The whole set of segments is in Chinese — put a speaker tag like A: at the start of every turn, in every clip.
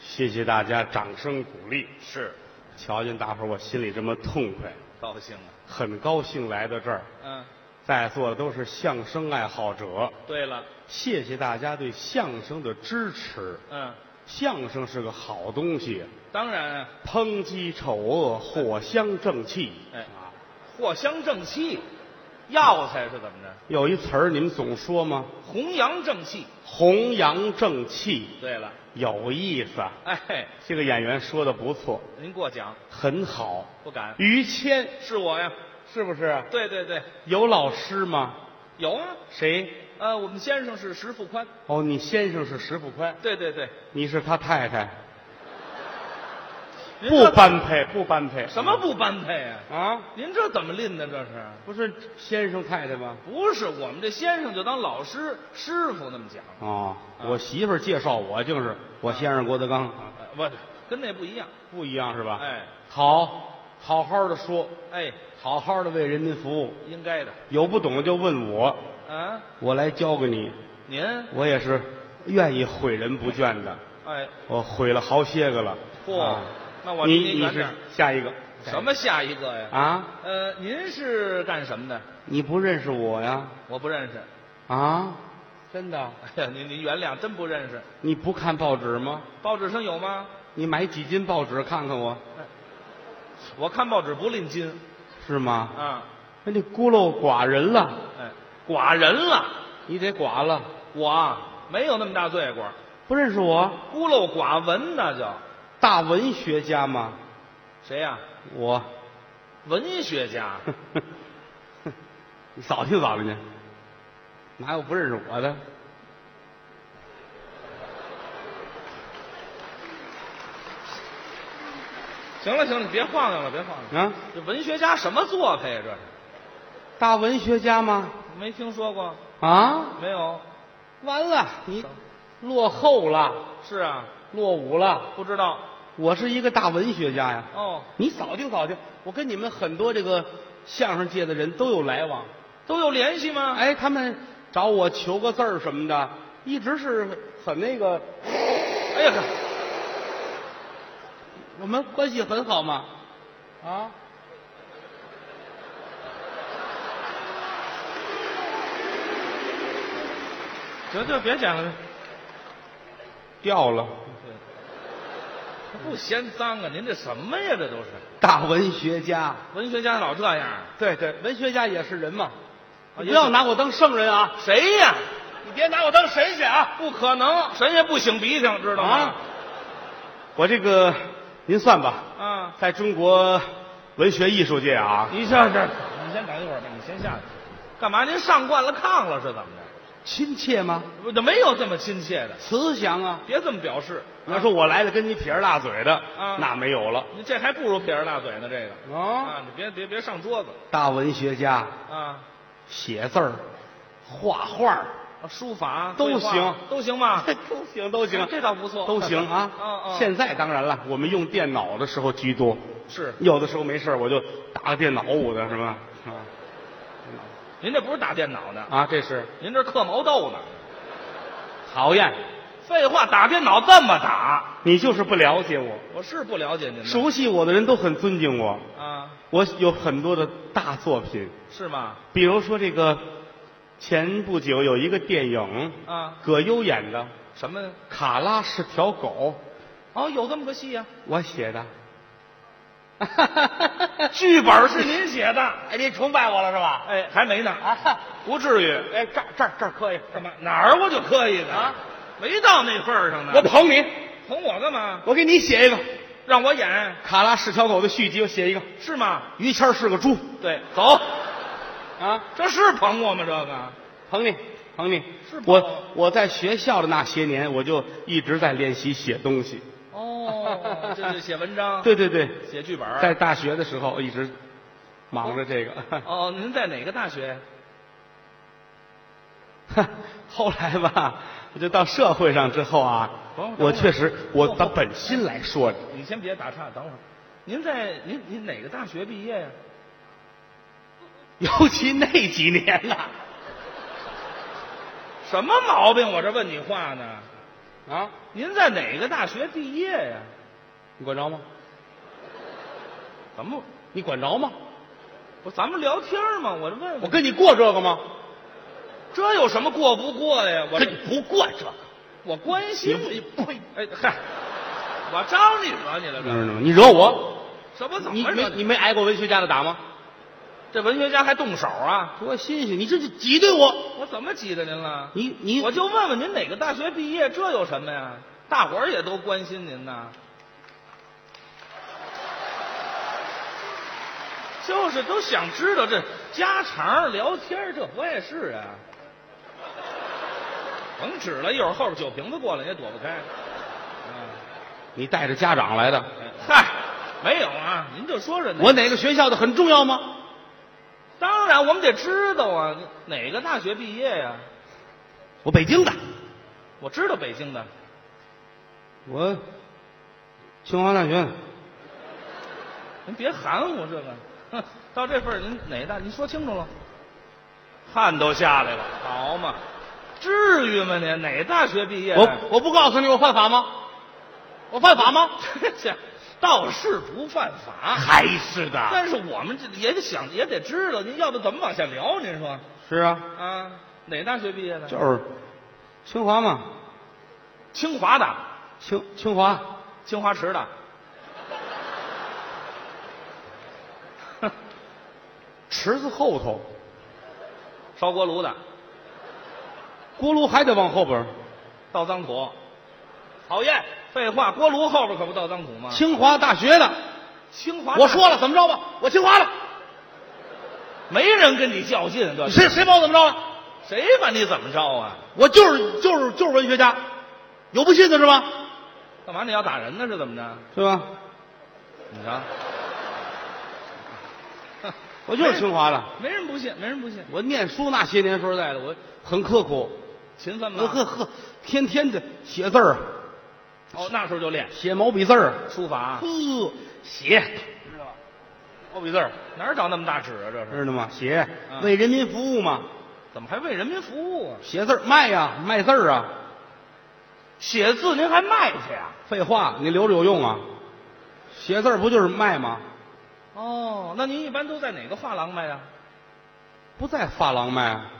A: 谢谢大家掌声鼓励。
B: 是，
A: 瞧见大伙儿，我心里这么痛快，
B: 高兴啊。
A: 很高兴来到这儿。
B: 嗯，
A: 在座的都是相声爱好者，
B: 对了，
A: 谢谢大家对相声的支持。
B: 嗯，
A: 相声是个好东西，
B: 当然啊，
A: 抨击丑恶，藿香正气。
B: 哎
A: 啊，
B: 藿香正气，药材是怎么着？
A: 有一词儿你们总说吗？
B: 弘扬正气。
A: 弘扬正气，
B: 对了，
A: 有意思啊。
B: 哎，
A: 这个演员说的不错，
B: 您过奖，
A: 很好。
B: 不敢，
A: 于谦
B: 是我呀。
A: 是不是
B: 对对对，
A: 有老师吗？
B: 有啊。
A: 谁？
B: 呃，我们先生是石富宽。
A: 哦，你先生是石富宽，
B: 对对对，
A: 你是他太太，
B: 您
A: 不
B: 这
A: 般配，啊不般配。
B: 什么不般配呀、
A: 啊？
B: 您这怎么拎的？这是
A: 不是先生太太吗？
B: 不是我们这先生就当老师师傅那么讲？
A: 哦，
B: 啊
A: 我媳妇儿介绍我就是我先生郭德纲，
B: 呃不、跟那不一样。
A: 不一样是吧？
B: 哎
A: 好，好好的说，
B: 哎，
A: 好好的为人民服务，
B: 应该的
A: 有不懂的就问我，
B: 啊。
A: 我来教给你。
B: 您
A: 我也是愿意毁人不倦的，
B: 哎，
A: 我毁了好些个了。
B: 嚯
A: 啊
B: 那我
A: 你
B: 离您
A: 你
B: 远
A: 是
B: 点儿
A: 下一个
B: 什么下一个呀？
A: 啊？
B: 呃，您是干什么的？
A: 你不认识我呀？
B: 我不认识。
A: 啊，真的？
B: 哎呀，您您原谅，真不认识。
A: 你不看报纸吗？
B: 报纸上有吗？
A: 你买几斤报纸看看我，
B: 我看报纸不吝金
A: 是吗？
B: 啊。
A: 那哎你孤陋寡人了，
B: 哎，寡人了，
A: 你得寡了，
B: 我啊没有那么大罪过，
A: 不认识我，
B: 孤陋寡闻那就。
A: 大文学家嘛，
B: 谁呀、
A: 我，
B: 文学家。
A: 你扫听扫听去，哪有不认识我的？
B: 行了行了，别晃悠了，别晃悠了。
A: 啊，
B: 这文学家什么做派呀？这是
A: 大文学家吗？
B: 没听说过，
A: 啊，
B: 没有。
A: 完了，你落后了，
B: 是啊，
A: 落伍了。
B: 不知道。
A: 我是一个大文学家呀。
B: 哦，
A: 你扫听扫听，我跟你们很多这个相声界的人都有来往。
B: 都有联系吗？
A: 哎，他们找我求个字儿什么的，一直是很那个，
B: 哎呀，
A: 我们关系很好嘛。啊，
B: 行行，别讲了。
A: 掉了，
B: 不嫌脏啊！您这什么呀？这都是
A: 大文学家。
B: 文学家老这样，
A: 对对，文学家也是人嘛，
B: 啊
A: 你
B: 也
A: 不要
B: 是
A: 拿我当圣人啊！
B: 谁呀？
A: 你别拿我当神仙啊！
B: 不可能，谁也不擤鼻涕，知道吗？
A: 我这个，您算吧，
B: 啊，
A: 在中国文学艺术界啊，
B: 你下去，你先等一会儿吧，你先下去。干嘛？您上惯了炕了是怎么着？
A: 亲切吗？
B: 不，这没有这么亲切的，
A: 慈祥啊！
B: 别这么表示。
A: 你要说我来了跟你撇着大嘴的，
B: 啊
A: 那没有了。
B: 你这还不如撇着大嘴呢，这个
A: 啊，
B: 啊，你别别别上桌子
A: 大文学家
B: 啊！
A: 写字儿、画画啊
B: 啊书法
A: 都
B: 绘画
A: 行
B: 都行吗？
A: 都行都
B: 哎这倒不错，
A: 都行啊。
B: 啊啊，
A: 现在当然了，我们用电脑的时候居多，
B: 是
A: 有的时候没事儿我就打个电脑舞的是吧？
B: 您这不是打电脑呢，
A: 啊，这是
B: 您这刻毛豆呢。
A: 讨厌，
B: 废话，打电脑这么打，
A: 你就是不了解我。
B: 我是不了解您的。
A: 熟悉我的人都很尊敬我，
B: 啊，
A: 我有很多的大作品，
B: 是吗？
A: 比如说这个，前不久有一个电影，
B: 啊，
A: 葛优演的《
B: 什么？
A: 卡拉是条狗》，
B: 哦，有这么个戏呀、
A: 我写的。
B: 剧本是您写的？
A: 哎，你崇拜我了是吧？
B: 哎，还没呢，
A: 啊，
B: 不至于。
A: 哎，这儿这儿这儿可以，
B: 干嘛？哪儿我就磕一个
A: 啊？
B: 没到那份儿上呢。
A: 我捧你，
B: 捧我干嘛？
A: 我给你写一个《
B: 让我演
A: 卡拉是条狗》的续集，我写一个
B: 是吗？
A: 于谦儿是个猪
B: 对，走，
A: 啊，
B: 这是捧我吗？这个
A: 捧你，捧你。
B: 是不
A: 我我在学校的那些年，我就一直在练习写东西。
B: 哦这就写文章，，
A: 对对对，
B: 写剧本。
A: 在大学的时候一直忙着这个。
B: 哦，您在哪个大学？
A: 后来吧，我就到社会上之后啊
B: 等会儿，
A: 我
B: 等会儿
A: 确实，我
B: 等会儿
A: 咱本心来说的，
B: 你先别打岔，等会儿。您在您您哪个大学毕业呀、
A: 尤其那几年呐、
B: 什么毛病？我这问你话呢？
A: 啊，
B: 您在哪个大学毕业呀、
A: 你管着吗？
B: 怎么
A: 你管着吗？
B: 不？咱们聊天嘛，我就问
A: 我
B: 问，
A: 跟你过这个吗？
B: 这有什么过不过的呀？我
A: 跟你不过这个，
B: 我关心
A: 你
B: 你，
A: 呸！
B: 哎嗨，我招你惹你了
A: 你
B: 这
A: 知
B: 是
A: 道吗？你惹我，
B: 什么
A: 嗯
B: 怎
A: 你
B: 么
A: 没
B: 惹
A: 你没挨过文学家的打吗？
B: 这文学家还动手啊？
A: 多新鲜！你这是挤兑我，
B: 我怎么挤兑您了？
A: 你你
B: 我就问问您哪个大学毕业，这有什么呀？大伙儿也都关心 您呐。就是都想知道这家常聊天儿，这不碍事啊。甭指了，一会儿后边酒瓶子过来你也躲不开。
A: 你带着家长来的，
B: 嗯嗨，没有啊，您就说说哪
A: 我哪个学校的很重要吗？
B: 当然我们得知道啊，哪个大学毕业呀、
A: 我北京的，
B: 我知道北京的，
A: 我清华大学，
B: 您别含糊这个，哼，到这份儿您哪大？您说清楚了。汗都下来了，好嘛，至于吗您？哪大学毕业的？
A: 我我不告诉你，我犯法吗？我犯法 吗？
B: 这倒是不犯法，
A: 还是的，
B: 但是我们这也得想，也得知道，您要不怎么往下聊？您说
A: 是啊，
B: 啊，哪大学毕业的？
A: 就是清华嘛，
B: 清华的，
A: 清清华，
B: 清华池的。哼
A: 池子后头，
B: 烧锅炉的，
A: 锅炉还得往后边儿。
B: 倒脏土，讨厌。废话，锅炉后边可不倒脏土吗？
A: 清华大学的，
B: 清华，
A: 我说了怎么着吧？我清华了，
B: 没人跟你较劲，这
A: 啊谁谁把我怎么着了？
B: 谁把你怎么着啊？
A: 我就是就是就是文学家，有不信的是吧？
B: 干嘛你要打人呢？是怎么着？
A: 是吧？
B: 你 瞧，
A: 我就是清华的，
B: 没人不信，没人不信，
A: 我念书那些年，说实在的，我很刻苦，
B: 勤奋
A: 呵
B: 吗？
A: 呵呵，天天的写字儿，啊
B: 哦，那时候就练
A: 写毛笔字儿，啊
B: 书法，啊
A: 呵，写，知道吧？毛笔字儿，
B: 哪儿找那么大纸啊？这是
A: 知道吗？写
B: 嗯
A: 为人民服务嘛，
B: 怎么还为人民服务啊？
A: 写字儿卖呀，卖字儿啊。
B: 写字您还卖去啊？
A: 废话，你留着有用啊？写字儿不就是卖吗？
B: 哦，那您一般都在哪个画廊卖啊？
A: 不在发廊卖啊。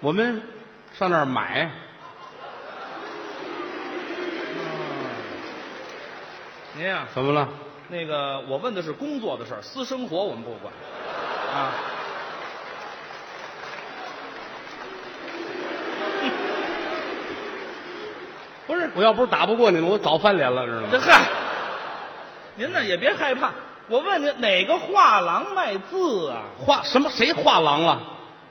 A: 我们上那儿买，
B: 嗯您呀、
A: 怎么了？
B: 那个我问的是工作的事儿，私生活我们不管啊。 不是，
A: 我要不是打不过你们，我早翻脸了，知道
B: 这
A: 吗？
B: 嗨，您呢也别害怕，我问您哪个画廊卖字啊？
A: 画什么？谁画廊了？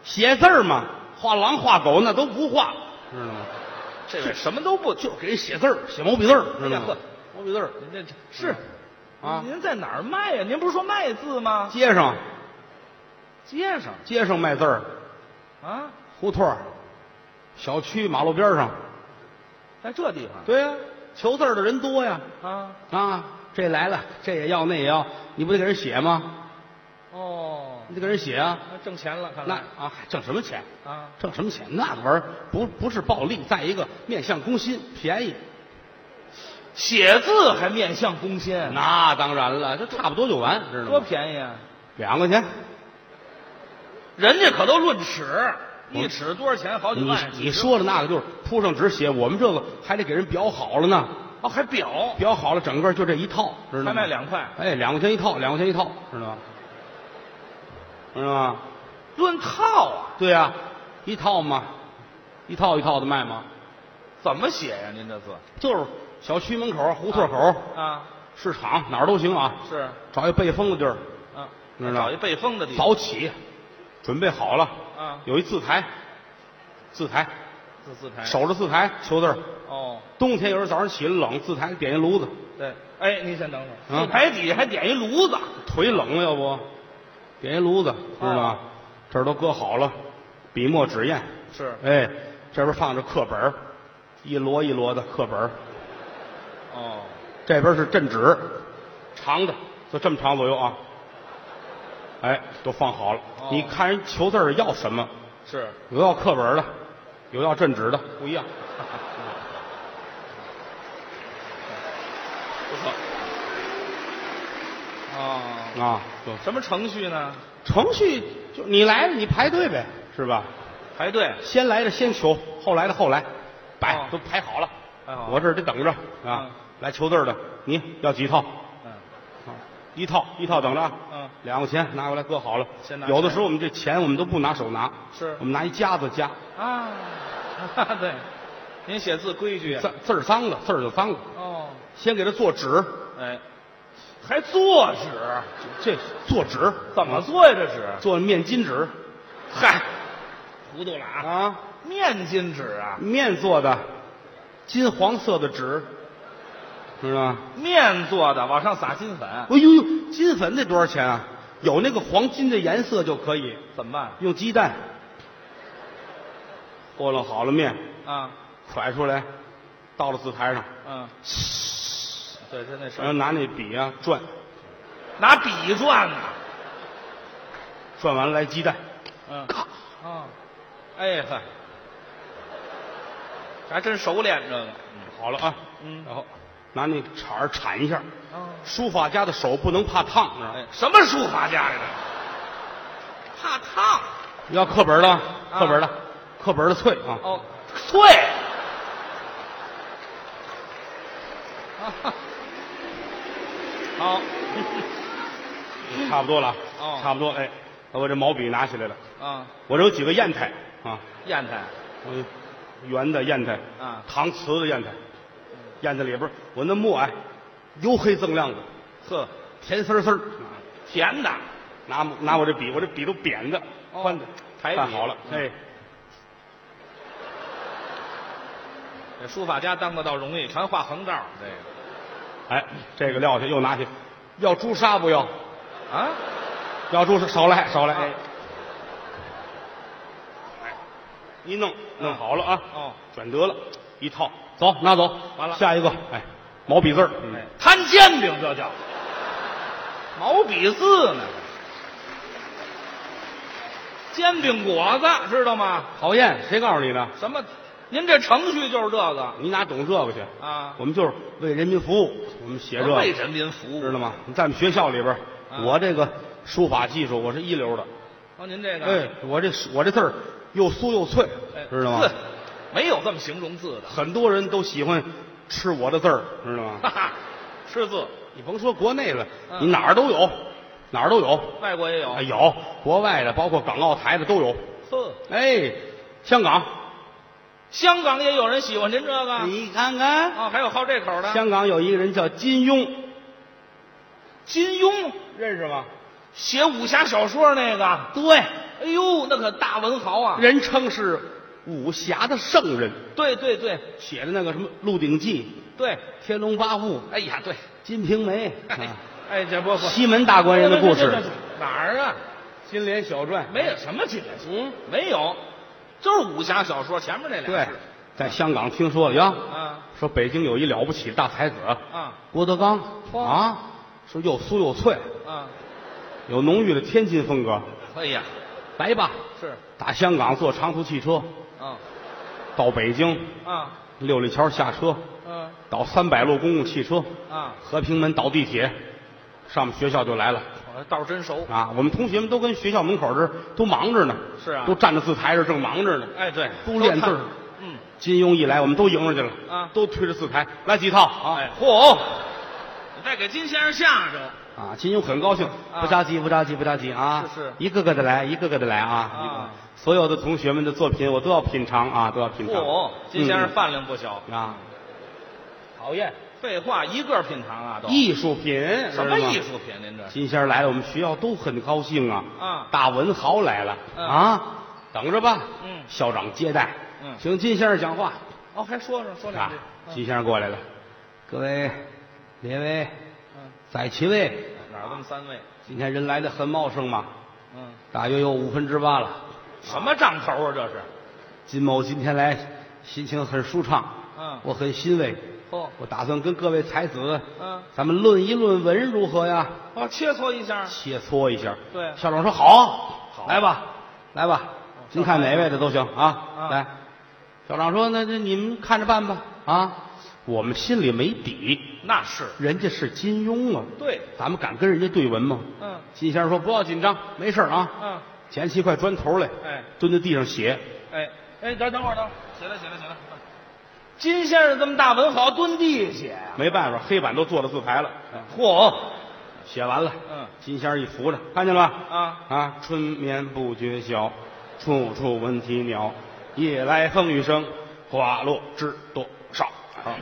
A: 写字儿嘛，画狼画狗那都不画，知道吗？
B: 这位什么都不
A: 就给人写字儿，写毛笔字儿，知道
B: 哎呀
A: 吗
B: 呵？
A: 毛笔字儿，
B: 您这这是
A: 啊
B: 您在哪儿卖呀、您不是说卖字吗？
A: 街上
B: 街上
A: 街上卖字儿，
B: 啊，
A: 胡同儿、小区、马路边儿上，
B: 在这地方
A: 对呀、求字儿的人多呀。
B: 啊，
A: 啊，这来了，这也要，那也要，你不得给人写吗？
B: 哦，
A: 你得给人写 啊。
B: 那挣钱了，看
A: 那
B: 来
A: 啊，还挣什么钱？
B: 啊，
A: 挣什么钱？那个玩意儿不不是暴利，再一个面向公心，便宜。
B: 写字还面向工薪，
A: 那当然了，这差不多就完，知道
B: 多
A: 吗？
B: 便宜啊！
A: 两块钱，
B: 人家可都论尺，
A: 我
B: 一尺多少钱？好几
A: 你
B: 万。
A: 你说的那个就是铺上纸写，我们这个还得给人裱好了呢，
B: 哦，还表
A: 裱好了整个就这一套，知道吗？
B: 还卖两块，
A: 哎，两块钱一套，两块钱一套，知道吗？知道吗？
B: 论套啊？
A: 对呀、一套嘛，一套一套的卖嘛。
B: 怎么写呀、您这字
A: 就是小区门口、胡同口、
B: 啊
A: 市场哪儿都行啊，
B: 是
A: 找一背风的地儿，
B: 啊，
A: 知道
B: 找一背风的地方
A: 早起，准备好了，
B: 啊，
A: 有一字台，字台
B: 字字台
A: 守着字台求字儿。
B: 哦，
A: 冬天有时候早上起来冷，字台点一炉子，
B: 对，哎，您先等会儿，
A: 嗯
B: 字台底下还点一炉子，
A: 腿冷了要不，点一炉子，知道吗？这儿都搁好了，笔墨纸砚，
B: 是
A: 哎，这边放着课本儿，一摞一摞的课本儿，
B: 哦，
A: 这边是镇纸，长的，就这么长左右啊。哎，都放好了。
B: 哦
A: 你看人求字儿要什么？
B: 是
A: 有要课本的，有要镇纸的，不一样。
B: 不错。哦，
A: 啊，
B: 什么程序呢？
A: 程序就你来了，你排队呗，是吧？
B: 排队。
A: 先来的先求，后来的后来，摆、
B: 哦
A: 都排好了。
B: 排好了
A: 我这儿得等着啊
B: 嗯！
A: 来求字儿的，你要几套？
B: 嗯
A: 一套一套等着啊！
B: 嗯，
A: 两块钱拿过来搁好了。
B: 先拿
A: 有的
B: 钱
A: 时候我们这钱我们都不拿手拿，
B: 是
A: 我们拿一夹子夹，
B: 啊， 对，您写字规矩啊。
A: 字字儿脏了，字儿就脏了。
B: 哦，
A: 先给他做纸，
B: 哎，还做纸？
A: 这做纸
B: 怎么？做呀？这纸？
A: 做面巾纸
B: 嗨，糊涂了啊！
A: 啊，
B: 面巾纸啊，
A: 面做的，金黄色的纸，知道吗？
B: 面做的，往上撒金粉，
A: 哎呦呦，金粉得多少钱啊？有那个黄金的颜色就可以，
B: 怎么办
A: 用鸡蛋和弄好了面，
B: 啊？
A: 甩出来，倒到字台上，
B: 嗯，对，就那
A: 然后
B: 声，
A: 拿那笔啊转，
B: 拿笔转呐。
A: 转完了来鸡蛋，
B: 嗯，
A: 咔，
B: 啊，哎呵，还真熟练这个。
A: 好了啊，
B: 嗯
A: 然后拿那铲儿铲一下，
B: 啊，
A: 书法家的手不能怕烫，知道吗
B: 哎，什么书法家呀？怕烫
A: 你要课本的，课本的，课本的脆啊，
B: 哦， 脆。啊好，
A: 差不多了啊，
B: 哦
A: 差不多，哎，我这毛笔拿起来了，
B: 啊，
A: 我这有几个砚台啊，
B: 砚台
A: 嗯，圆的砚台，
B: 啊，
A: 搪瓷的砚台，砚台里边儿我那墨哎，油黑锃亮的，
B: 呵，
A: 甜丝丝儿。
B: 甜的，
A: 拿拿我这笔，我这笔都扁的，
B: 哦
A: 宽的，
B: 彩笔
A: 办好了，哎
B: 嗯，这书法家当的倒容易，全画横道儿这个
A: 哎，这个撂下又拿去，要朱砂不要？
B: 啊，
A: 要朱砂少来少来，
B: 啊
A: 哎，哎一弄弄好了啊，
B: 哦，
A: 转得了，一套，走拿走，
B: 完了
A: 下一个，哎，毛笔字儿，
B: 哎，摊煎饼这叫毛笔字呢，煎饼果子知道吗？
A: 讨厌，谁告诉你的？
B: 什么？您这程序就是这个
A: 你哪懂这个去？
B: 啊？
A: 我们就是为人民服务，我们写这个，
B: 为人民服务，
A: 知道？吗？你在我们学校里边儿，
B: 啊
A: 我这个书法技术我是一流的，
B: 哦，您这个，
A: 哎，我这我这字儿又酥又脆
B: 哎，，
A: 知道吗
B: 字？？没有这么形容字的，
A: 很多人都喜欢吃我的字儿，知道吗
B: 哈？哈，吃字，
A: 你甭说国内了，
B: 嗯
A: 你哪儿都有，哪儿都有，
B: 外国也有
A: 啊，有国外的，包括港澳台的都有。
B: 呵，
A: 哎，香港，
B: 香港也有人喜欢您这个，
A: 你看看，
B: 哦，还有好这口的，
A: 香港有一个人叫金庸，
B: 金庸
A: 认识吗？
B: 写武侠小说那个，
A: 对，
B: 哎呦，那可大文豪啊！
A: 人称是武侠的圣人，
B: 对对对
A: 写的那个什么《鹿鼎记》
B: 对，
A: 《天龙八部》
B: 哎呀对，
A: 《金瓶梅》
B: 哎
A: 啊，
B: 哎这不不，
A: 西门大官人的故
B: 这这
A: 事
B: 这，这哪儿啊？
A: 金莲小传
B: 没有什么进来，
A: 嗯，
B: 没有，就是武侠小说前面那俩
A: 对
B: 字，
A: 在香港听说了呀，
B: 啊
A: 说北京有一了不起的大才子
B: 啊
A: 郭德纲
B: 嚯
A: 啊，说又酥又脆，
B: 啊！
A: 有浓郁的天津风格，
B: 哎呀，
A: 来吧，
B: 是
A: 打香港坐长途汽车
B: 啊
A: 到北京，
B: 啊
A: 六里桥下车，
B: 嗯
A: 倒三百路公共汽车，
B: 啊，
A: 和平门倒地铁，上我们学校就来了
B: 我这道儿真熟。
A: 啊！我们同学们都跟学校门口这儿都忙着呢，
B: 是啊
A: 都站在字台上正忙着呢。
B: 哎，对，
A: 都练字儿
B: 看。嗯，
A: 金庸一来，我们都迎上去了
B: 啊
A: 都推着字台来几套啊！
B: 哎，嚯，你再给金先生吓着。
A: 啊，金庸很高兴，
B: 啊
A: 不着急，不着急，不着急啊！
B: 是是
A: 一个个的来，一个个的来啊！
B: 啊
A: 一个个所有的同学们的作品我都要品尝啊，都要品尝。
B: 嚯，金先生
A: 嗯
B: 饭量不小。
A: 啊，
B: 讨厌，废话，一个品尝啊都。
A: 艺术品
B: 什么
A: 知道吗
B: 艺术品？您这是
A: 金仙儿来了，我们学校都很高兴啊。
B: 啊
A: 大文豪来了、
B: 嗯
A: 啊，等着吧。
B: 嗯
A: 校长接待。
B: 嗯
A: 请金先生讲话。
B: 哦，还说说说两
A: 啊
B: 句。，
A: 金先生过来了，各位，列位，
B: 嗯，
A: 在其位。
B: 嗯哪儿这么三位？
A: 今天人来的很茂盛嘛，
B: 嗯，
A: 大约有五分之八了。
B: 什么账头啊？这是？
A: 金某今天来，心情很舒畅，
B: 嗯，
A: 我很欣慰。
B: 嚯，
A: 我打算跟各位才子，
B: 嗯，
A: 咱们论一论文如何呀？
B: 哦，切磋一下。
A: 切磋一下。
B: 对
A: 校长说好，
B: 好
A: 来吧，来吧，您看哪位的都行啊。
B: 啊
A: 来，校长说：“那那你们看着办吧。”啊，我们心里没底，
B: 那是
A: 人家是金庸啊，
B: 对，
A: 咱们敢跟人家对文吗？
B: 嗯
A: 金先生说：“不要紧张，没事儿啊。
B: 嗯，
A: 捡起一块砖头来，
B: 哎
A: 蹲在地上写。
B: 哎哎，等等会儿，等会儿，起来起来起来。金先生这么大文豪，蹲地写呀、
A: 没办法，黑板都做了字牌了。
B: 嚯，
A: 写完了，
B: 嗯
A: 金仙儿一扶着，看见了吧？
B: 啊
A: 啊，春眠不觉晓，处处闻啼鸟，夜来风雨声，花落知多少。 啊，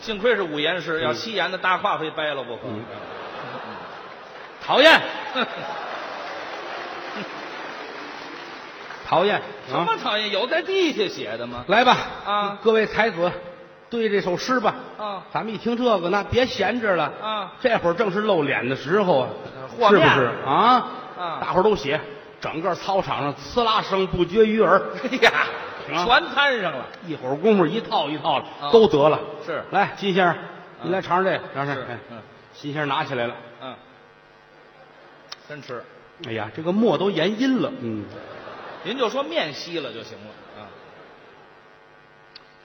B: 幸亏是五言诗，要
A: 嗯
B: 七言的大胯非掰了不可。
A: 嗯
B: 讨厌，
A: 讨厌，
B: 什么
A: 啊、
B: 讨厌？有在地下写的吗？
A: 来吧，
B: 啊
A: 各位才子，对这首诗吧，
B: 啊
A: 咱们一听这个，那别闲着了，
B: 啊
A: 这会儿正是露脸的时候啊，
B: 和
A: 是不
B: 面
A: 是啊？
B: 啊
A: 大伙儿都写，整个操场上刺啦声不绝于耳。
B: 哎呀，
A: 啊
B: 全摊上了。
A: 一会儿功夫一套一套的、
B: 啊
A: 都得了。
B: 是
A: 来金先生，您
B: 嗯
A: 来尝尝这个，尝尝。
B: 是
A: 哎
B: 嗯
A: 金先生拿起来了，
B: 嗯，真吃。
A: 哎呀，这个墨都研阴了，嗯，
B: 您就说面稀了就行了啊。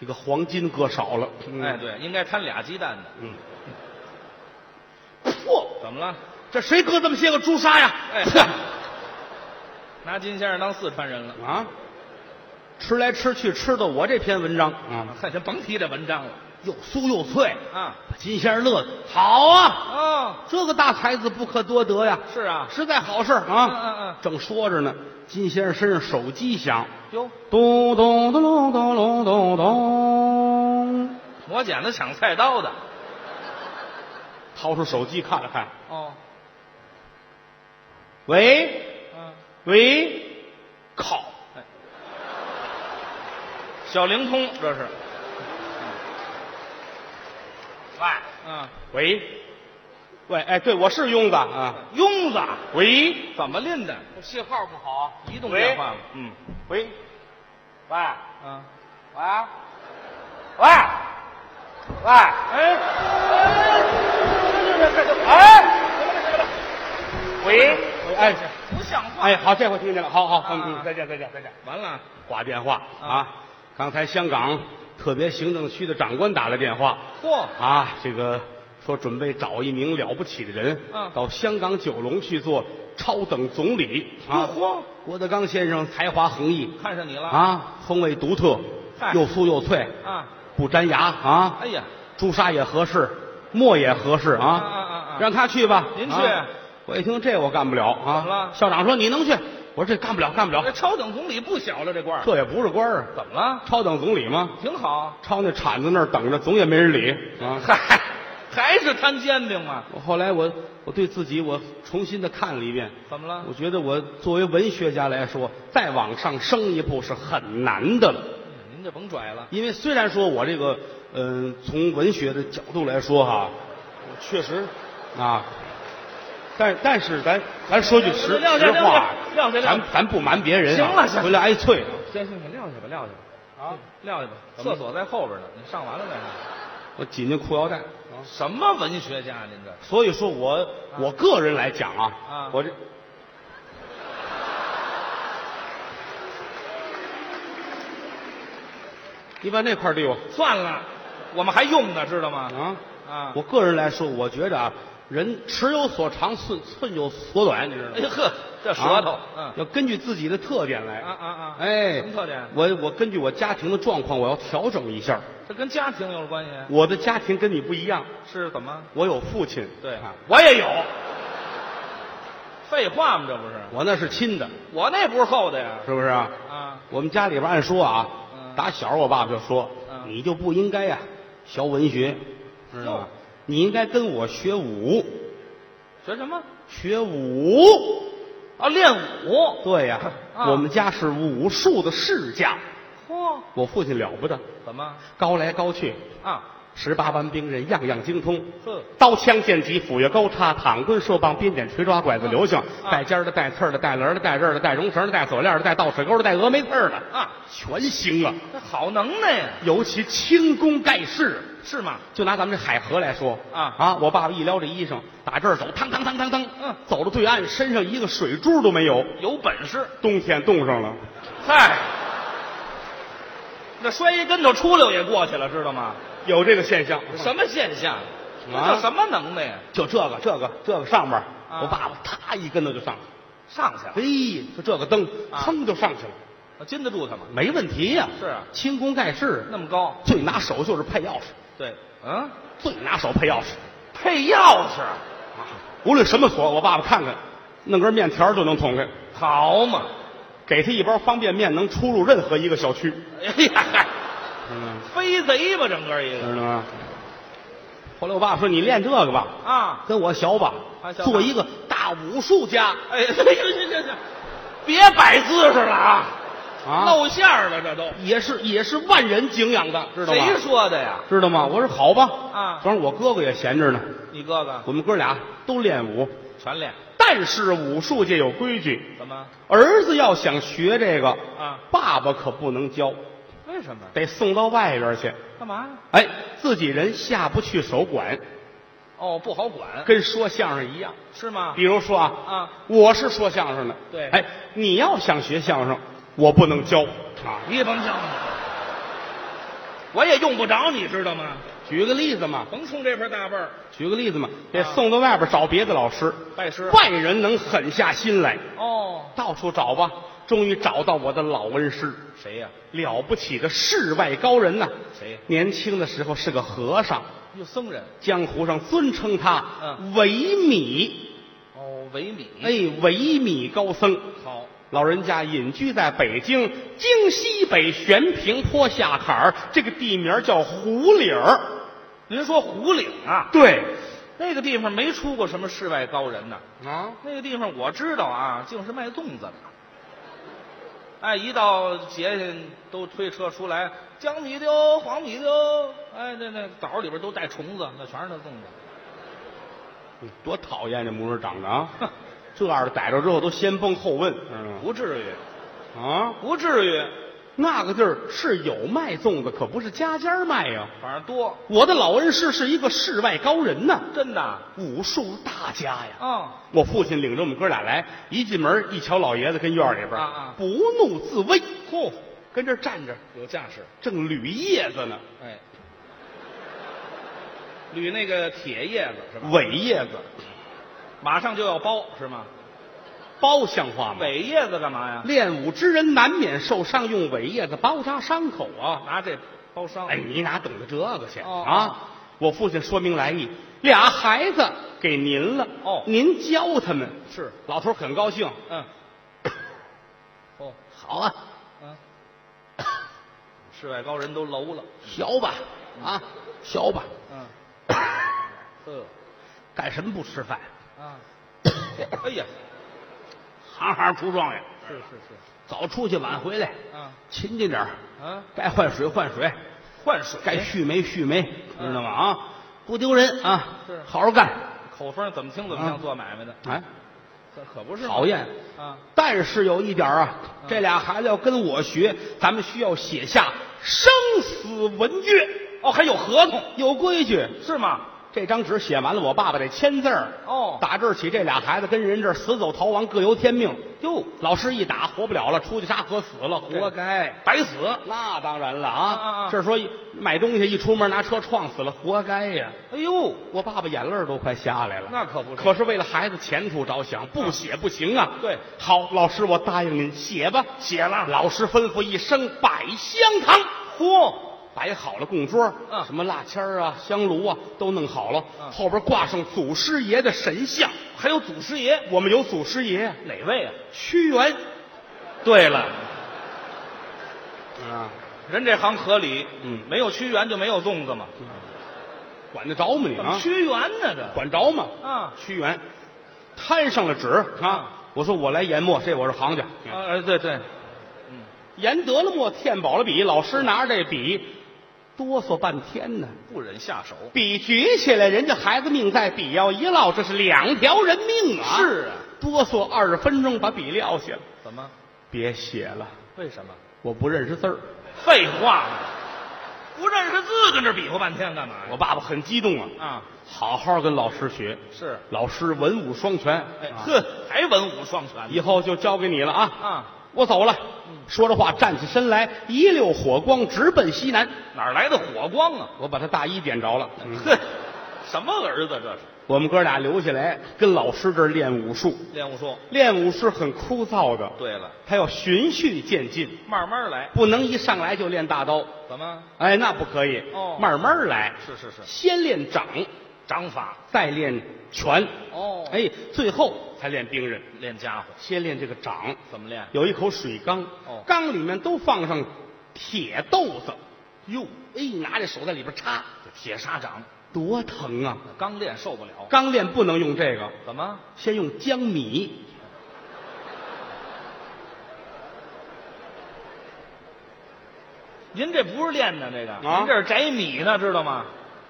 A: 这个黄金搁少了。嗯
B: 哎，，对，应该摊俩鸡蛋的。
A: 嗯，嚯，
B: 怎么了？
A: 这谁搁这么些个朱砂呀？
B: 哎拿金先生当四川人了？
A: 啊，吃来吃去吃的我这篇文章啊，
B: 嗨，先甭提这文章了
A: 又酥又脆，
B: 啊。
A: 把金先生乐的好啊，
B: 哦，
A: 这个大才子不可多得呀，
B: 是啊。
A: 实在好事儿
B: 嗯嗯
A: 啊
B: 嗯。
A: 正说着呢，金先生身上手机响。
B: 哟，
A: 咚咚咚咚咚咚咚咚，
B: 磨剪子抢菜刀的。
A: 掏出手机看了看，
B: 哦，
A: 喂
B: 嗯，
A: 喂，靠！
B: 小灵通这是。
A: 喂
B: 嗯，
A: 喂喂，哎，对，我是庸子啊，
B: 庸子
A: 喂
B: 怎么拎的？
C: 信号不好，
B: 移动电话嘛。嗯。
A: 喂，
C: 喂
B: 啊。
C: 喂喂喂，
B: 哎，
C: 哎，喂，
A: 哎
B: 不像话。
A: 哎，好，这回听见了，好好，嗯
B: 啊
A: 嗯，再见再见再见，
B: 完了。
A: 挂电话啊
B: 啊，
A: 刚才香港特别行政区的长官打来电话，
B: 嚯，
A: 啊，这个说准备找一名了不起的人，
B: 嗯
A: 到香港九龙去做超等总理啊。
B: 嚯
A: 郭德纲先生才华横溢
B: 看上你了。
A: 啊，风味独特，
B: 嗨
A: 又酥又脆，
B: 啊。
A: 不粘牙啊，
B: 哎呀，
A: 朱砂也合适，墨也合适啊。
B: 啊啊啊
A: 让他去吧，
B: 您
A: 啊
B: 去
A: 我一听这我干不了啊。
B: 怎么了哎
A: 校长说你能去，我说这干不了，干不了
B: 这，超等总理不小了，这官儿。
A: 这也不是官儿啊，
B: 怎么了？
A: 超等总理吗？
B: 挺好。
A: 抄那铲子那儿等着，总也没人理啊。
B: 嗨，还是摊煎饼嘛？
A: 我后来我我对自己我重新的看了一遍，
B: 怎么了
A: 我？觉得我作为文学家来说，再往上升一步是很难的了。
B: 您就甭拽了。
A: 因为虽然说我这个，嗯、从文学的角度来说哈，我确实啊，但但是咱咱说句实实
B: 亮亮亮
A: 话，
B: 亮亮亮
A: 咱咱不瞒别人、啊，
B: 行了行了
A: 回来挨啐啊。
B: 行行行，撂下吧，撂下吧。
A: 啊，
B: 撂下吧。
A: 怎么
B: 厕所在后边呢，你上完了再说。
A: 我紧紧裤腰带。啊
B: 什么文学家？您这
A: 所以说我我个人来讲啊，
B: 啊
A: 我这你把那块儿递我
B: 算了，我们还用呢，知道吗？
A: 啊！
B: 啊，
A: 我个人来说，我觉得啊，人尺有所长，寸寸有所短，你知道吗
B: 哎？呵，这舌头
A: 啊，
B: 嗯，
A: 要根据自己的特点来
B: 啊啊啊
A: 哎，
B: 什么特点
A: 我我根据我家庭的状况，我要调整一下。
B: 这跟家庭有关系？
A: 我的家庭跟你不一样，
B: 是怎么？
A: 我有父亲，
B: 对
A: 啊，
B: 我也有。废话嘛，这不是？
A: 我那是亲的，
B: 我那不是厚的呀。
A: 是不是啊？
B: 啊，
A: 我们家里边按说啊，
B: 嗯
A: 打小我爸爸就说，
B: 嗯
A: 你就不应该呀、学文学，知道吗
B: 哟？
A: 你应该跟我学武，
B: 学什么？
A: 学武。
B: 啊，练武。
A: 对呀、
B: 啊
A: 我们家是武术的世家，
B: 嚯，
A: 我父亲了不得，
B: 怎么？
A: 高来高去，
B: 啊，
A: 十八般兵刃样样精通。
B: 呵，
A: 刀枪剑戟斧钺钩叉躺棍槊棒鞭锏锤抓拐子流星，
B: 啊
A: 带尖儿的带刺儿的带轮儿的带刃儿的带绒绳儿的带锁链儿的带倒水钩的带峨眉刺儿的
B: 啊，
A: 全行啊！
B: 这好能耐呀，
A: 尤其轻功盖世。
B: 是吗？
A: 就拿咱们这海河来说
B: 啊
A: 啊，我爸爸一撩这衣裳，打这儿走，腾腾腾腾腾，
B: 嗯
A: 走到对岸，身上一个水珠都没有。
B: 有本事。
A: 冬天冻上了，
B: 嗨，那摔一跟头出溜也过去了，知道吗？
A: 有这个现象。
B: 什么现象？那叫什么能耐呀？
A: 就这个这个这个上边儿，
B: 啊
A: 我爸爸啪一跟头就上去了。
B: 上去了，
A: 哎，就这个蹬，
B: 啊
A: 噌就上去了，哎
B: 我禁得住他吗？
A: 没问题呀、
B: 是啊
A: 轻功盖世，
B: 那么高，
A: 最拿手就是配钥匙，
B: 对，嗯，
A: 最拿手配钥匙。
B: 配钥匙，
A: 啊，无论什么锁，我爸爸看看，弄根面条就能捅开。
B: 好嘛，
A: 给他一包方便面，能出入任何一个小区，
B: 哎呀，嗨
A: 嗯，
B: 飞贼吧，整个一个
A: 知道吗？后来我啊爸说：“你练这个吧，
B: 啊，
A: 跟我学吧，
B: 啊学吧
A: 做一个大武术家
B: 哎，行行行行，别摆姿势了啊，
A: 啊，
B: 露馅儿了，这都
A: 也是也是万人敬仰的，知道吗？
B: 谁说的呀？
A: 知道吗？我说好吧，
B: 啊
A: 正好我哥哥也闲着呢，
B: 你哥哥
A: 我们哥俩都练武，
B: 全练，
A: 但是武术界有规矩，
B: 怎么？
A: 儿子要想学这个
B: 啊，
A: 爸爸可不能教，
B: 为什么？
A: 得送到外边去。
B: 干嘛呀？
A: 哎，自己人下不去手管，
B: 哦，不好管，
A: 跟说相声一样。
B: 是吗
A: 比？如说啊，
B: 啊，
A: 我是说相声的，
B: 对
A: 哎，你要想学相声，我不能教啊。
B: 你甭想，我也用不着，你知道吗？
A: 举个例子嘛，
B: 甭冲这份大辈儿，
A: 举个例子嘛，得
B: 啊
A: 送到外边找别的老师，
B: 拜师
A: 外人能狠下心来，
B: 哦，
A: 到处找吧，终于找到我的老恩师，
B: 谁呀、
A: 了不起的世外高人呐！
B: 谁呀
A: 年轻的时候是个和尚，
B: 哟，僧人
A: 江湖上尊称他
B: 嗯
A: 维米，
B: 哦，维米，
A: 哎，，维米高僧。
B: 好，
A: 老人家隐居在北京京西北悬平坡下坎儿，这个地名叫胡岭儿。
B: 您说胡岭啊，
A: 对，
B: 那个地方没出过什么世外高人呐，
A: 啊，
B: 那个地方我知道啊，竟是卖粽子的。哎，一到节庆都推车出来，江米丢，黄米丢，哎，那那枣里边都带虫子，那全是那粽子。
A: 多讨厌这模样长得啊！
B: 哼
A: 这样的逮着之后都先崩后问，知道吗
B: 不至于，
A: 啊，
B: 不至于，
A: 那个地儿是有卖粽子，可不是家家卖呀、
B: 反正多，
A: 我的老恩师是一个世外高人呐，
B: 真的啊、
A: 武术大家呀。
B: 哦
A: 我父亲领着我们哥俩来，一进门一瞧老爷子跟院里边儿，
B: 啊啊
A: 不怒自威，嚯、跟这儿站着，
B: 有架势，
A: 正捋叶子呢，
B: 哎，捋那个铁叶子是吧？
A: 苇叶子，
B: 马上就要包是吗？
A: 包像话吗？
B: 苇叶子干嘛呀？
A: 练武之人难免受伤，用苇叶子包扎伤口啊！
B: 拿这包伤。
A: 哎，你哪懂得这个去、
B: 哦
A: 啊？我父亲说明来意，俩孩子给您了，
B: 哦
A: 您教他们。
B: 是，
A: 老头儿很高兴，
B: 嗯，哦，
A: 好啊，
B: 嗯，世外高人都楼了，
A: 学吧，啊，学吧，
B: 嗯，呵，
A: 干什么不吃 饭？
B: 啊，哎呀，
A: 行行出状元，
B: 是是是，
A: 早出去晚回来，
B: 啊
A: 勤勤点儿，
B: 啊，哎
A: 该换水换水，
B: 换水
A: 该蓄煤蓄煤，
B: 嗯
A: 知道吗？啊，不丢人啊
B: 是，
A: 好好干。
B: 口风怎么听怎么像
A: 嗯
B: 做买卖的，
A: 哎，
B: 这可不是嘛
A: 讨厌。
B: 啊，
A: 但是有一点啊，
B: 嗯
A: 这俩孩子要跟我学，咱们需要写下生死文约，
B: 哦，还有合同
A: 有规矩。
B: 是吗？
A: 这张纸写完了，我爸爸得签字儿。
B: 哦
A: 打这儿起，这俩孩子跟人这儿死走逃亡，各由天命。
B: 哟，
A: 老师一打，活不了了，出去杀河死了，
B: 对
A: 活该。
B: 白死。
A: 那当然了
B: 啊啊
A: 啊
B: 啊！
A: 这说买东西一出门拿车撞死了，活该呀！
B: 哎呦，
A: 我爸爸眼泪儿都快下来了。
B: 那可不是
A: 可是为了孩子前途着想，不写不行啊。
B: 对，
A: 好，老师，我答应您，写吧。写了，老师吩咐一声摆香堂，嚯，摆好了供桌，
B: 嗯
A: 什么蜡签儿啊、香炉啊都弄好了，
B: 嗯
A: 后边挂上祖师爷的神像。
B: 还有祖师爷
A: 我们有祖师爷
B: 哪位啊？
A: 屈原，
B: 对了，嗯
A: 啊，
B: 人这行合理，
A: 嗯
B: 没有屈原就没有粽子嘛，
A: 管得着吗你
B: 怎么
A: 啊？
B: 屈原呢这？
A: 管着吗？
B: 啊
A: 屈原摊上了纸啊
B: 啊，
A: 我说我来研墨，这我是行家。
B: 啊，哎对对，
A: 研得了墨，填饱了笔，老师拿着这笔哆嗦半天呢。
B: 不忍下手。
A: 笔举起来，人家孩子命在，笔要一落，这是两条人命啊！
B: 是啊，
A: 哆嗦二十分钟，把笔撂下了，
B: 怎么？
A: 别写了，
B: 为什么？
A: 我不认识字儿。
B: 废话，不认识字跟这比划半天干嘛
A: 我
B: 呀？
A: 爸爸很激动啊，
B: 啊，
A: 好好跟老师学，
B: 是，
A: 老师文武双全，
B: 哎
A: 啊，
B: 呵，还文武双全
A: 以
B: 呢
A: 后就交给你了啊！
B: 啊！
A: 我走了。说着话，站起身来，一溜火光直奔西南。
B: 哪儿来的火光啊？
A: 我把他大衣点着了。嗯
B: 哼，什么儿子这是？
A: 我们哥俩留下来跟老师这儿练武术，
B: 练武术。
A: 练武是很枯燥的，
B: 对了，
A: 他要循序渐进，
B: 慢慢来。
A: 不能一上来就练大刀。
B: 怎么？
A: 哎，那不可以，
B: 哦
A: 慢慢来，
B: 是是是，
A: 先练掌，
B: 掌法
A: 再练拳，
B: 哦哎，
A: 哎，最后才练兵刃。
B: 练家伙
A: 先练这个掌，
B: 怎么练？
A: 有一口水缸
B: 哦，
A: 缸里面都放上铁豆子，
B: 哟，
A: 哎，拿这手在里边插，
B: 这铁砂掌，
A: 多疼啊！
B: 刚练受不了。
A: 刚练不能用这个，
B: 怎么？
A: 先用江米。
B: 您这不是练呢？这个，
A: 啊
B: 您这是摘米呢，知道吗？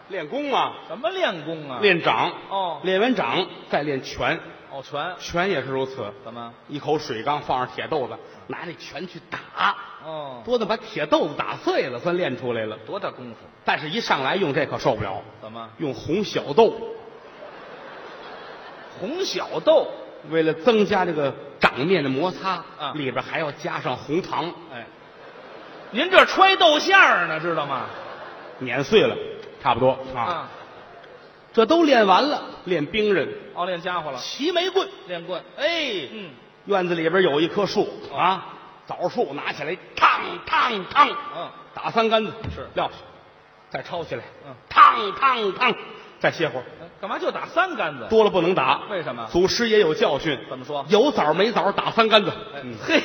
A: 练功嘛，
B: 什么练功啊？
A: 练掌，
B: 哦
A: 练完掌再练拳，
B: 哦拳，
A: 拳也是如此。
B: 怎么？
A: 一口水缸放上铁豆子，拿那拳去打，
B: 哦，
A: 多的把铁豆子打碎了，算练出来了。
B: 多大功夫？
A: 但是，一上来用这可受不了，
B: 怎么？
A: 用红小豆，
B: 红小豆，
A: 为了增加这个掌面的摩擦，
B: 啊
A: 里边还要加上红糖，
B: 哎，您这揣豆馅儿呢，知道吗？
A: 碾碎了，差不多啊。
B: 啊，
A: 这都练完了，练兵刃，
B: 哦，练家伙了，
A: 齐眉棍。
B: 练棍，哎，嗯，
A: 院子里边有一棵树啊，枣树，拿起来，烫烫烫，
B: 嗯，
A: 打三杆子，
B: 是
A: 撂下，再抄起来，
B: 嗯，
A: 烫烫烫，再歇会儿，
B: 干嘛就打三杆子？
A: 多了不能打。
B: 为什么
A: 祖师也有教训，
B: 怎么说
A: 有枣没枣打三杆子。
B: 哎
A: 嗯，
B: 嘿，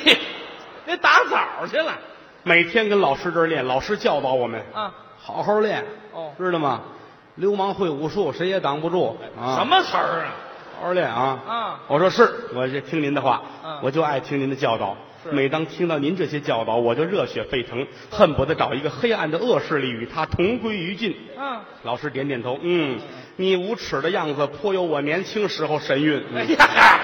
B: 那打枣去了
A: 每天跟老师这儿练，老师教导我们，
B: 啊？
A: 好好练，
B: 哦
A: 知道吗？流氓会武术，谁也挡不住。啊
B: 什？么词儿啊？
A: 好好练啊！
B: 啊，
A: 我说是，我这听您的话，
B: 嗯
A: 我就爱听您的教导。
B: 是
A: 每当听到您这些教导，我就热血沸腾，恨不得找一个黑暗的恶势力与他同归于尽。
B: 啊，
A: 老师点点头，嗯，你无耻的样子颇有我年轻时候神韵。嗯
B: 哎呀，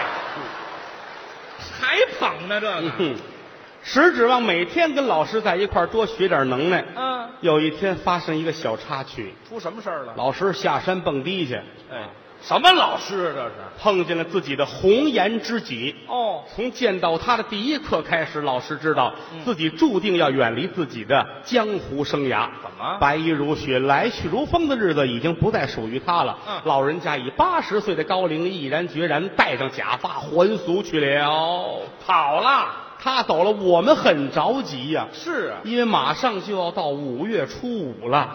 B: 还捧呢这
A: 嗯
B: 个，
A: 哼 实指望每天跟老师在一块儿多学点能耐。
B: 嗯，
A: 有一天发生一个小插曲，
B: 出什么事儿了？
A: 老师下山蹦迪去，
B: 哎，什么老师啊这是？
A: 碰见了自己的红颜知己。
B: 哦，
A: 从见到他的第一刻开始，老师知道
B: 嗯
A: 自己注定要远离自己的江湖生涯。
B: 怎么
A: 白衣如雪，来去如风的日子已经不再属于他了。
B: 嗯
A: 老人家以八十岁的高龄，毅然决然戴上假发还俗去了。
B: 跑了？
A: 他走了，我们很着急呀、
B: 是啊，
A: 因为马上就要到五月初五了，
B: 啊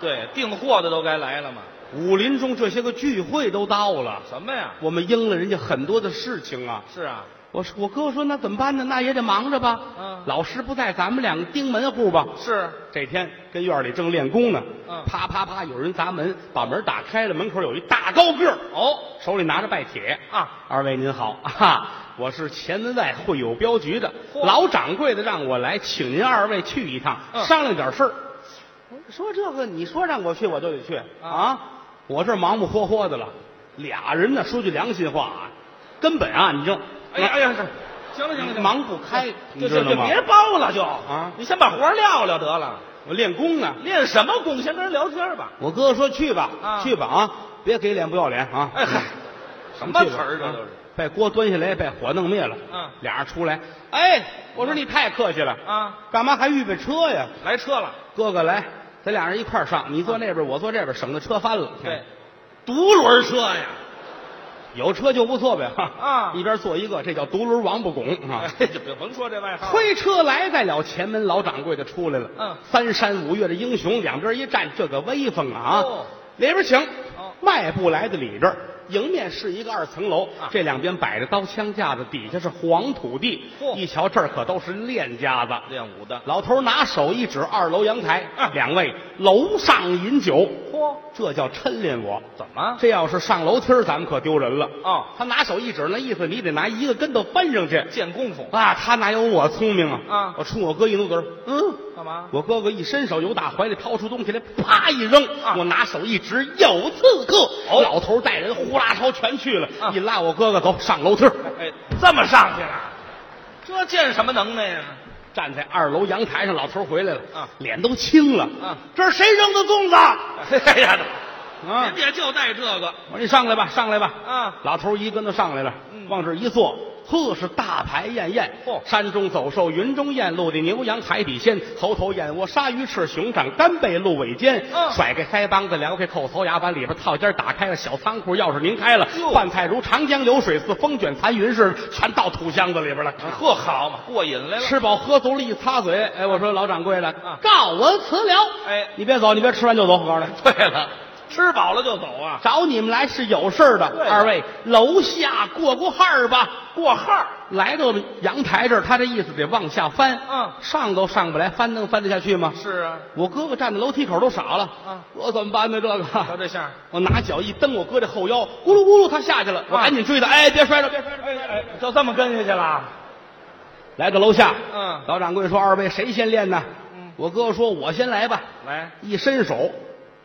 B: 对，订货的都该来了嘛？
A: 武林中这些个聚会都到了，
B: 什么呀？
A: 我们应了人家很多的事情啊。
B: 是啊，
A: 我说我哥说那怎么办呢？那也得忙着吧。
B: 嗯
A: 老师不在，咱们两个盯门户吧。
B: 是
A: 这天跟院里正练功呢，
B: 嗯
A: 啪啪啪，有人砸门，把门打开了，门口有一大高个儿，
B: 哦
A: 手里拿着拜帖
B: 啊，
A: 二位您好， 哈、啊，我是前门外会友镖局的
B: 嚯
A: 老掌柜的，让我来，请您二位去一趟，
B: 嗯
A: 商量点事儿。我说这个，你说让我去，我就得去啊我这忙忙活活的了，俩人呢，说句良心话啊，根本啊，你就
B: 哎呀哎呀，这行了行了，行了
A: 忙不开你
B: 就
A: 知
B: 就
A: 道
B: 就
A: 吗
B: 别包了就
A: 啊
B: 你先把活儿撂了得了。
A: 我练功呢。
B: 练什么功？先跟人聊天吧。
A: 我哥说去吧，
B: 啊
A: 去吧啊，别给脸不要脸啊！
B: 哎嗨，什么词儿这
A: 啊
B: 都是？
A: 把锅端下来，把火弄灭了。
B: 嗯
A: 俩人出来，哎，我说你太客气了，
B: 啊，
A: 干嘛还预备车呀？
B: 来车了，
A: 哥哥来，咱俩人一块儿上，你坐那边，我坐这边，省得车翻了。
B: 啊对，，独轮车呀，
A: 有车就不错呗。哈
B: 啊
A: 一边坐一个，这叫独轮王八拱啊
B: 哎。， 就别甭说这外号了。
A: 推车来在了前门，老掌柜的出来了。
B: 啊嗯
A: 三山五岳的英雄，两边一站，这个威风啊！
B: 哦
A: 里边请。
B: 哦
A: 迈步来到里边儿，迎面是一个二层楼，
B: 啊
A: 这两边摆着刀枪架子，底下是黄土地。
B: 嚯
A: 一瞧这儿可都是练家子。
B: 练武的，
A: 老头拿手一指二楼阳台，
B: 啊
A: 两位楼上饮酒，
B: 嚯，
A: 这叫抻练我。
B: 怎么？
A: 这要是上楼梯儿，咱们可丢人了。
B: 哦
A: 他拿手一指，那意思你得拿一个跟头翻上去。
B: 见功夫
A: 啊，他哪有我聪明啊！
B: 啊
A: 我冲我哥一努嘴儿，嗯，
B: 干嘛？
A: 我哥哥一伸手，由打怀里掏出东西来，啪一扔，
B: 啊
A: 我拿手一指，有刺客！
B: 哦
A: 老头带人呼啦朝全去了，
B: 啊
A: 一拉我哥哥走上楼梯儿，
B: 哎，这么上去了，这见什么能耐呀？
A: 站在二楼阳台上，老头回来了，
B: 啊
A: 脸都青了，
B: 啊
A: 这是谁扔的粽子？
B: 哎呀，
A: 啊
B: 人，家就带这个
A: 我说你上来吧，上来吧，
B: 啊，
A: 老头一跟头上来了，
B: 嗯
A: 往这儿一坐，呵是大排宴宴。
B: 嚯
A: 山中走兽，云中雁，陆地牛羊，海底鲜，猴头燕窝，鲨鱼翅，熊掌，干贝，鹿尾尖。
B: 嗯
A: 甩开腮帮子，撩开扣头牙，把里边套尖打开了，小仓库钥匙拧开了
B: 哟，
A: 饭菜如长江流水似风卷残云似的，全到土箱子里边了。
B: 呵好嘛，过瘾来了。
A: 吃饱喝足了，一擦嘴，哎，我说老掌柜的
B: 啊，
A: 告我辞了。
B: 哎
A: 你别走，你别吃完就走，我告诉你。
B: 对了，吃饱了就走啊，
A: 找你们来是有事儿的，
B: 对
A: 二位楼下过过号儿吧。
B: 过号儿
A: 来到我们阳台这儿，他这意思得往下翻，
B: 嗯
A: 上都上不来，翻能翻得下去吗？
B: 是啊。
A: 我哥哥站在楼梯口都傻了，
B: 啊
A: 我怎么办呢？这个，
B: 瞧这相儿，
A: 我拿脚一蹬我哥这后腰，咕噜咕噜，他下去了，我
B: 啊
A: 赶紧追他，哎，别摔着，别摔着。
B: 哎哎，就这么跟下去了。
A: 来到楼下，
B: 嗯
A: 老掌柜说：“二位谁先练呢？”
B: 嗯
A: 我哥哥说：“我先来吧。”
B: 来
A: 一伸手，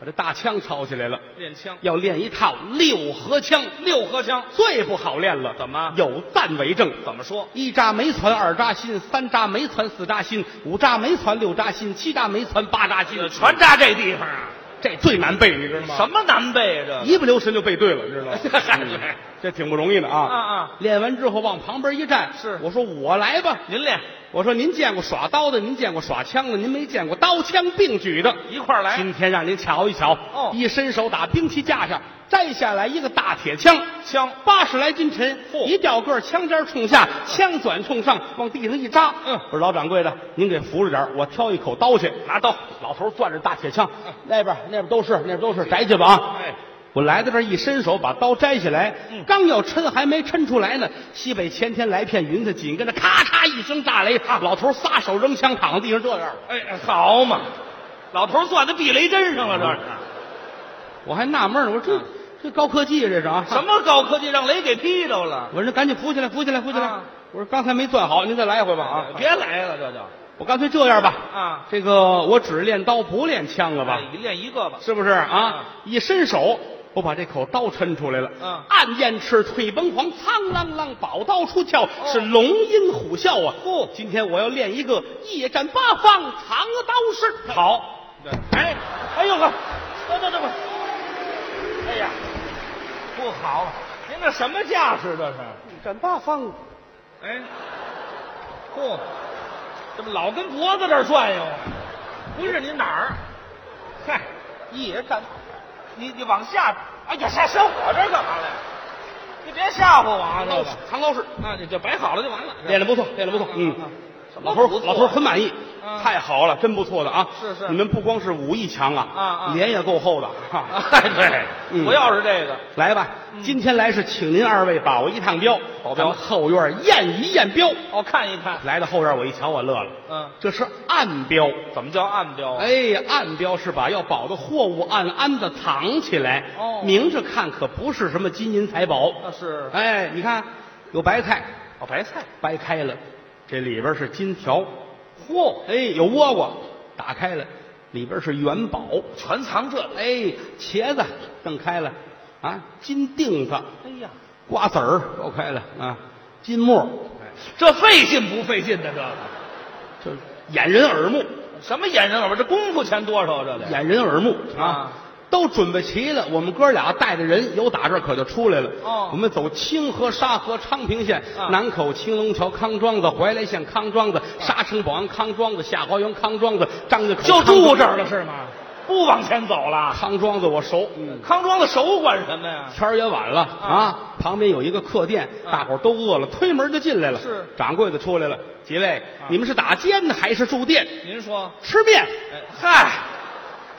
A: 把这大枪抄起来了，
B: 练枪，
A: 要练一套六合枪，
B: 六合枪
A: 最不好练了。
B: 怎么
A: 有赞为证？
B: 怎么说？
A: 一扎没攒，二扎心，三扎没攒，四扎心，五扎没攒，六扎心，七扎没攒，八扎心，
B: 呃全扎这地方啊，
A: 这最难背，你知道吗？
B: 什么难背 啊？
A: 一不留神就背对了，你知 道吗
B: 嗨？
A: 嗯这挺不容易的啊！
B: 啊啊！
A: 练完之后往旁边一站，
B: 是
A: 我说我来吧。
B: 这您练
A: 我说您见过耍刀的，您见过耍枪的，您没见过刀枪并举的。
B: 一块儿来，
A: 今天让您瞧一瞧。
B: 哦
A: 一伸手打兵器架上摘下来一个大铁枪，
B: 枪
A: 八十来斤沉，
B: 嚯
A: 一掉个儿，枪尖冲下，枪短冲上，往地上一扎。
B: 嗯
A: 我说老掌柜的，您给扶着点儿我挑一口刀去。
B: 拿刀，嗯
A: 老头攥着大铁枪，那边儿那边儿都是，那边儿都是，摘去吧啊！
B: 哎，
A: 我来到这儿一伸手，把刀摘下来，
B: 嗯
A: 刚要抻，还没抻出来呢。西北前天来片云彩，紧跟着咔嚓一声炸雷，
B: 啊
A: 老头撒手扔枪，躺地上这样。
B: 哎，好嘛，老头攥在避雷针上了，这是。
A: 我还纳闷呢，我说这、
B: 嗯
A: 这高科技啊这是啊？
B: 什？么高科技让雷给劈着了？
A: 我说那赶紧扶起来，扶起来，扶起来！
B: 啊
A: 我说刚才没攥好，您再来一回吧啊！
B: 别来了，这就
A: 我干脆这样吧，
B: 啊
A: 这个我只练刀不练枪了吧？
B: 哎一练一个吧。
A: 是不是啊
B: 啊？
A: 一伸手，我把这口刀抻出来了。
B: 嗯
A: 暗燕翅，退崩黄，苍啷啷，宝刀出鞘，是龙吟虎啸啊！
B: 哦
A: 今天我要练一个夜战八方，藏刀式。好，
B: 对，哎，哎呦呵，等等等会儿，哎呀，不好，您这什么架势这是？
A: 夜战八方，
B: 哎，嚯，怎么老跟脖子这儿转悠啊？不是您哪儿？嗨，
A: 夜战
B: 你你往下，哎呀，下下我这儿干嘛来？你别吓唬我啊！这
A: 刀式
B: 个，
A: 藏刀式，
B: 那你就摆好了就完了。
A: 练的不错，练的不错。嗯
B: 啊啊啊，什
A: 老
B: 么
A: 头儿
B: 不错
A: 老头儿很满意
B: 嗯，
A: 太好了，真不错的啊！
B: 是是
A: 你们不光是武艺强啊，
B: 啊啊
A: 脸也够厚的。 哈
B: 啊，对，
A: 嗯
B: 我要是这个，
A: 来吧，今天来是请您二位把我一趟镖，
B: 嗯保镖
A: 咱们后院验一验镖。
B: 我看一看，
A: 来到后院，我一瞧，我乐了，
B: 嗯，
A: 这是暗镖。
B: 怎么叫暗标？，
A: 哎，暗镖是把要保的货物暗暗的藏起来，
B: 哦嗯
A: 明着看可不是什么金银财宝。
B: 那是
A: 哎，你看有白菜，
B: 哦，白菜，
A: 掰开了，这里边是金条；
B: 嚯，
A: 哎，有倭瓜，打开了，里边是元宝；
B: 全藏这个。
A: 哎，茄子弄开了，啊，金锭子。
B: 哎呀，
A: 瓜子儿都开了啊，金沫儿，
B: 哎这费劲不费劲的这个？
A: 这掩人耳目，
B: 什么演人耳这功夫钱多少？这得
A: 掩人耳目啊。
B: 啊
A: 都准备齐了，我们哥俩带着人由打这儿可就出来了。
B: 哦
A: 我们走清河、沙河、昌平县、
B: 啊
A: 南口、青龙桥、康庄子、怀来县、康庄子、沙城、保安、康庄子、下花园、康庄子、张家口，
B: 就
A: 康庄
B: 住
A: 子
B: 这儿了是吗？不往前走了。
A: 康庄子我熟，嗯，
B: 康庄子熟管什么呀？
A: 天儿也晚了
B: 啊
A: 啊，旁边有一个客店，
B: 啊
A: 大伙儿都饿了，推门就进来了。
B: 是啊
A: 掌柜的出来了，几位，你们是打尖的还是住店？
B: 您说，
A: 吃面。
B: 哎嗨，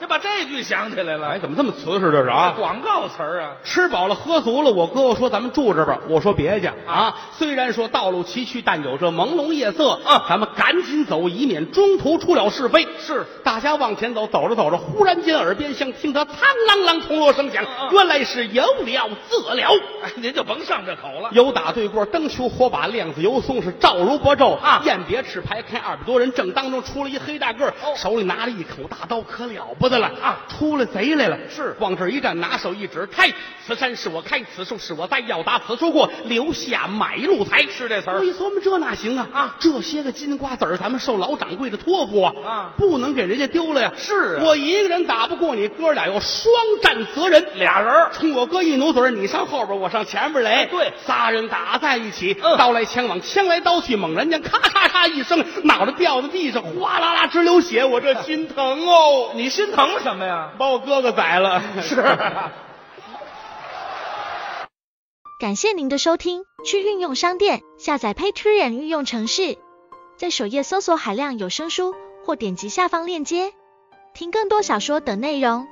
B: 这把这句想起来了，
A: 哎，怎么这么瓷实这是啊？
B: 广告词儿啊，
A: 吃饱了喝足了，我哥哥说咱们住这吧，我说别去啊
B: 啊。
A: 虽然说道路崎岖，但有这朦胧夜色，啊
B: 嗯
A: 咱们赶紧走，以免中途出了是非。
B: 是，
A: 大家往前走，走着走着，忽然间耳边像听得苍啷啷铜锣声响，
B: 嗯嗯
A: 原来是有了自了。
B: 哎，您就甭上这口了。
A: 有打对过，灯球火把，亮子油松是照如薄昼
B: 啊
A: 雁别翅排开，二百多人正当中出了一黑大个儿，
B: 哦
A: 手里拿着一口大刀，可了不的了
B: 啊
A: 出了贼来了。
B: 是
A: 往这儿一站，拿手一指，开！此山是我开，此树是我栽，要打此处过，留下买路财。
B: 是这词儿
A: 我一琢磨，这哪行啊？
B: 啊，
A: 这些个金瓜子儿，咱们受老掌柜的托付啊，
B: 啊
A: 不能给人家丢了呀。
B: 是啊
A: 我一个人打不过你，哥俩要双战责人。
B: 俩人儿
A: 冲我哥一努嘴儿，你上后边，我上前边来。
B: 对
A: 仨人打在一起，
B: 嗯
A: 刀来枪往，枪来刀去，猛然间咔嚓嚓一声，脑袋掉在地上，哗啦啦直流血，我这心 疼哦！
B: 你心疼什么呀？
A: 把我哥哥宰了，
B: 是啊
D: 感谢您的收听，去应用商店下载 Patreon 应用城市，在首页搜索海量有声书，或点击下方链接听更多小说等内容。